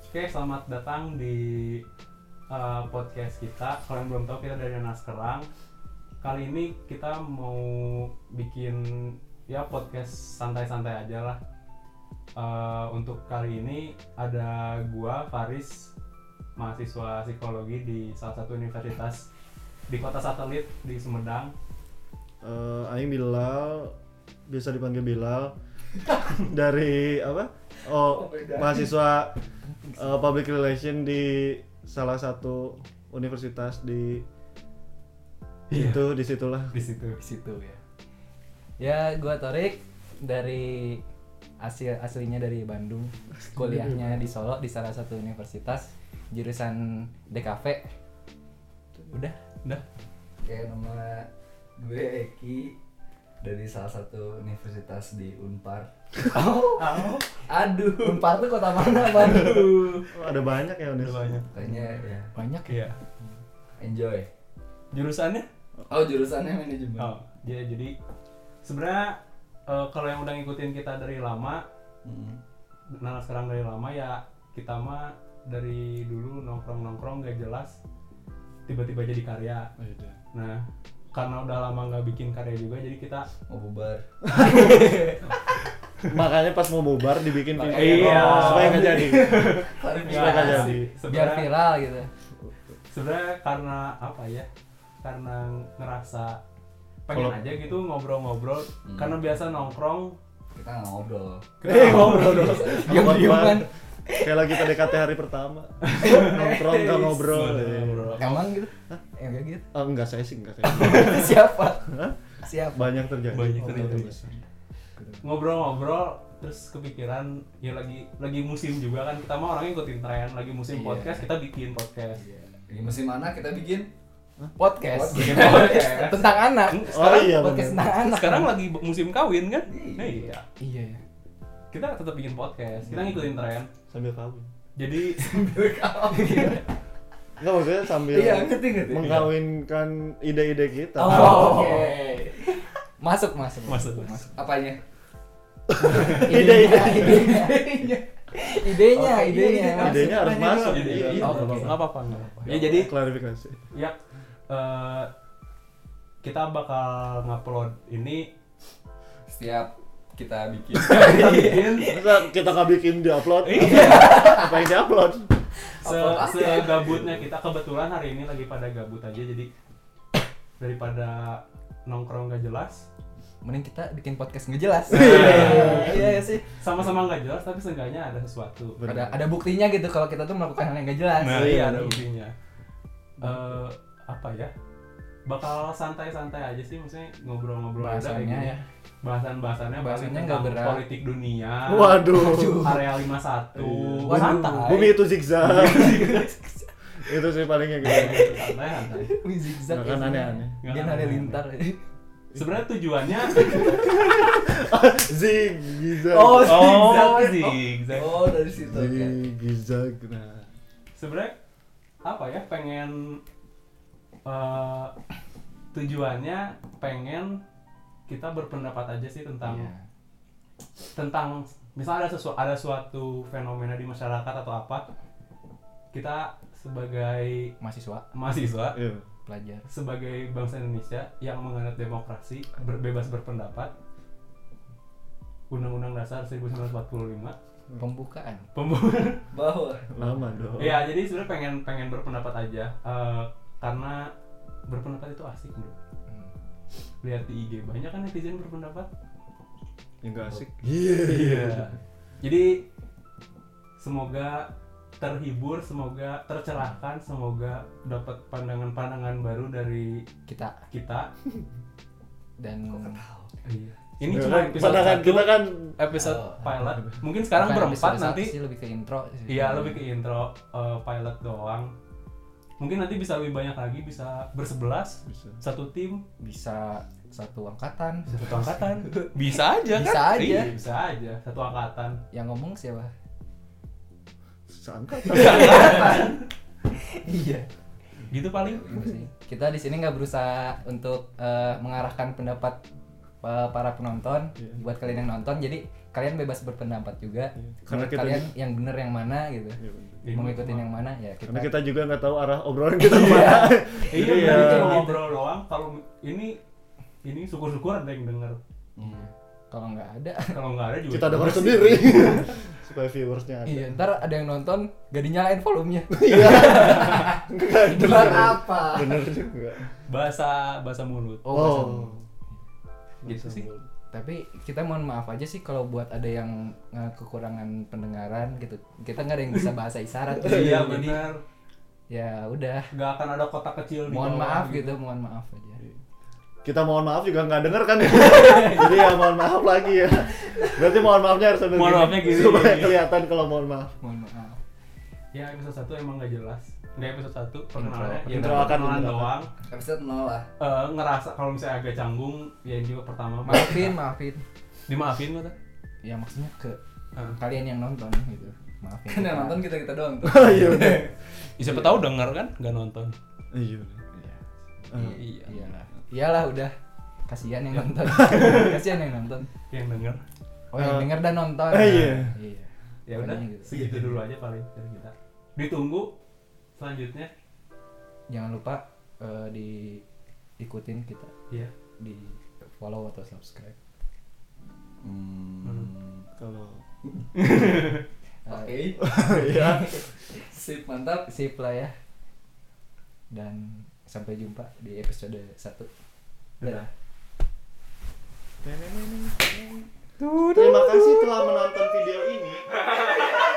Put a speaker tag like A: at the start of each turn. A: Oke, selamat datang di uh, podcast kita. Kalau yang belum tahu kita dari Naskerang. Kali ini kita mau bikin ya podcast santai-santai aja lah. Uh, untuk kali ini ada gua Faris, mahasiswa psikologi di salah satu universitas di kota satelit di Sumedang.
B: Eh, Aing Bilal biasa dipanggil Bilal dari apa? Oh, mahasiswa eh, public relation di salah satu universitas di
A: Iya.
B: itu disitulah.
A: Di situ.
C: di situ ya ya gua Torik dari asli aslinya dari Bandung kuliahnya di Solo di salah satu universitas jurusan DKV udah
A: Udah.
D: Oke, nama gue Eki dari salah satu universitas di Unpar.
C: oh
D: Aduh,
C: Unpar tuh kota mana Bandung
B: Oh, ada banyak ya
A: Udah
B: universitas.
A: banyak.
D: kayaknya ya
C: banyak ya
A: Iya.
D: enjoy.
A: Jurusannya?
D: Oh, jurusannya manajemen.
A: Oh, ya, jadi sebenarnya eh, kalau yang udah ngikutin kita dari lama,
B: Hmm.
D: Mm.
A: nah sekarang dari lama ya kita mah dari dulu nongkrong-nongkrong gak jelas, tiba-tiba jadi karya.
B: Oh, iya.
A: Nah, karena udah lama nggak bikin karya juga, jadi kita
D: Mau bubar.
B: Makanya pas mau bubar dibikin
C: Makanya.
B: video
A: Iya.
B: supaya nggak jadi. Supaya nggak
A: Iya,
B: jadi.
C: biar
A: sebenarnya-
C: viral gitu
A: sebenarnya karena apa ya karena ngerasa pengen
B: Kalau-
A: aja gitu ngobrol-ngobrol
D: Hmm.
A: karena biasa nongkrong
D: Kita nggak ngobrol.
B: Eh, ngobrol dong.
C: Diam-diaman.
B: Kayak lagi PDKT hari pertama. Nongkrong nggak ngobrol.
A: Ngobrol.
C: emang gitu ya kayak gitu
B: Eh, enggak saya sih, enggak saya.
C: siapa
B: Hah?
C: siapa
B: Banyak terjadi.
A: Banyak
B: Oh,
A: terjadi.
B: terus.
A: ngobrol-ngobrol terus kepikiran ya lagi lagi musim juga kan kita mah orangnya ikutin tren lagi musim
D: Iya.
A: podcast kita bikin podcast
D: Di musim mana kita bikin?
C: podcast
D: Podcast.
C: tentang anak
B: Oh iya benar.
C: podcast tentang anak
A: Nah,
D: kan?
A: sekarang lagi b- musim kawin kan
D: Iya.
A: Nah, iya
C: iya ya
A: kita tetap bikin podcast kita ngikutin tren
B: Sambil kawin.
A: jadi
C: Oh,
B: Enggak maksudnya sambil
D: Iya, ngerti ngerti.
B: mengkawinkan ide-ide kita.
C: Oh,
D: Oh, Oke.
C: masuk masuk
A: Masuk.
D: Apanya?
B: Ide-ide.
C: idenya idenya
D: Oke,
C: Oh, idenya
D: iya, iya.
B: Idenya harus
D: Masuk,
B: masuk.
D: masuk.
B: Iya, iya.
A: oh,
C: oke.
A: nggak apa-apa nggak apa-apa ya jadi
B: klarifikasi.
A: ya eh, kita bakal ngupload ini
D: Setiap kita bikin.
A: kita bikin
B: Masa kita nggak bikin diupload? Apa yang diupload?
A: se segabutnya kita kebetulan hari ini lagi pada gabut aja jadi daripada nongkrong gak jelas
C: mending kita bikin podcast nggak jelas iya sih
A: sama-sama nggak jelas tapi seenggaknya ada sesuatu
B: Bener.
C: ada ada buktinya gitu kalau kita tuh melakukan hal yang nggak jelas
A: nah
B: iya,
A: iya ada
B: iya.
A: buktinya Eh, apa ya bakal santai-santai aja sih maksudnya ngobrol-ngobrol aja kayak
C: bahasanya
A: gini.
C: ya
A: bahasan-bahasannya
C: Bahasannya
A: paling
C: nggak
A: tentang
C: berat.
A: politik dunia
B: Waduh.
A: area 51
B: Iya.
C: Waduh.
A: santai
B: Bumi itu zigzag. itu sih gitu. paling yang kita
A: santai santai
C: Wih, zigzag
B: Nggak kan
C: ya,
B: aneh-aneh.
C: sebenarnya. Dia hari lintar
A: sebenarnya tujuannya
B: zigzag.
A: oh
C: Oh, zigzag.
A: zigzag
D: oh, dari situ. oke.
B: Iya. zigzag. Nah.
A: sebenarnya apa ya pengen eh, tujuannya pengen kita berpendapat aja sih tentang
C: Iya.
A: tentang misalnya ada sesuatu ada suatu fenomena di masyarakat atau apa kita sebagai
C: mahasiswa
A: mahasiswa
B: Iya.
C: pelajar
A: sebagai bangsa Indonesia yang menganut demokrasi berbebas berpendapat Undang-Undang Dasar 1945
C: pembukaan
A: pembuat
D: Bahwa
B: Lama dong.
A: Iya, jadi sebenarnya pengen pengen berpendapat aja eh, karena berpendapat itu asik bro.
C: Hmm.
A: Lihat di IG banyak kan netizen berpendapat.
B: Yang nggak asik. Iya.
A: Jadi semoga terhibur, semoga tercerahkan, semoga dapat pandangan-pandangan baru dari
C: kita
A: kita.
C: dan
A: Iya. Ini cuma
B: Sebenarnya
A: episode
B: pandangan
A: satu,
B: kita kan
A: episode
D: Oh.
A: pilot. Mungkin sekarang
C: Bukan
A: berempat
C: episode satu
A: nanti.
C: sih, lebih ke intro sih.
A: Iya, lebih ke intro eh, pilot doang. Mungkin nanti bisa lebih banyak lagi, bisa bersebelas,
B: bisa.
A: satu tim,
C: bisa satu angkatan
A: satu angkatan bisa aja
C: Bisa
A: kan
C: aja.
A: Iya, bisa aja satu angkatan
C: yang ngomong siapa
B: Sangka.
C: iya
A: gitu paling
C: Hmm. Gitu sih. kita di sini nggak berusaha untuk eh, mengarahkan pendapat eh, para penonton,
A: Iya.
C: buat kalian yang nonton. Jadi kalian bebas berpendapat juga.
A: Iya.
C: Karena
B: Karena kita
C: kalian yang bener yang mana gitu.
B: Iya, bener.
A: Jadi
C: Mau ngikutin
A: cuma-
C: yang mana ya kita.
B: Karena kita juga nggak tahu arah obrolan kita kemana.
A: Iya,
B: Jadi
A: iya.
B: ya
A: cuma ngobrol doang. Kalau ini ini syukur-syukur ada yang denger.
D: Iya.
C: Kalau nggak ada,
A: Kalau nggak ada juga.
B: kita denger
A: syukur sih.
B: sendiri supaya viewersnya ada.
C: iya, ntar ada yang nonton gak dinyalain volumenya.
B: Nggak ada.
D: Buat apa?
B: Bener juga.
A: Bahasa bahasa mulut.
C: Oh, bahasa
B: Oh.
C: mulut.
A: Gitu sih.
C: tapi kita mohon maaf aja sih kalau buat ada yang eh, kekurangan pendengaran gitu. Kita nggak ada yang bisa bahasa isyarat. gitu.
A: Iya
C: Jadi,
A: benar.
C: Ya udah,
A: Gak akan ada kotak kecil di
C: mohon
A: bawah
C: maaf gitu, mohon maaf aja.
B: Iya. Kita mohon maaf juga nggak denger kan ya. Jadi ya mohon maaf lagi ya. Berarti mohon maafnya harus sambil
A: Mohon maafnya gini.
B: supaya kelihatan kalau mohon maaf.
C: Mohon maaf.
A: Ya episode 1 emang gak jelas. Nggak episode 1 perkenalannya. Ya,
C: Intro.
B: Intro akan
A: perkenalan
B: dulu.
A: doang.
D: Episode nol lah.
A: Eh, ngerasa kalau misalnya agak canggung, ya ini juga pertama.
C: Maafin, maafin.
A: Dimaafin kata.
C: Ya maksudnya ke
A: Eh,
C: kalian yang nonton gitu. Maafin.
D: Kan yang nonton kita kita doang tuh.
B: Iya bener.
A: ya, siapa tahu denger kan? Gak nonton.
B: Iya. bener. Eh,
A: Iya.
C: Iyalah. Iyalah udah. Kasihan yang nonton. Kasihan yang nonton.
A: Yang denger.
C: Oh,
B: Eh,
C: yang denger dan nonton.
B: eh, iya.
C: Iya.
A: Ya udah.
C: Pokoknya gitu.
A: Segitu dulu aja paling dari kita. Ditunggu selanjutnya.
C: Jangan lupa eh, di ikutin kita
A: Iya.
C: di follow atau subscribe.
D: Hmm.
B: Kalau
C: Eh,
D: Oke.
B: ya
D: Sip mantap.
C: Sip lah ya. Dan sampai jumpa di episode 1. Dadah.
B: Terima kasih telah menonton video ini.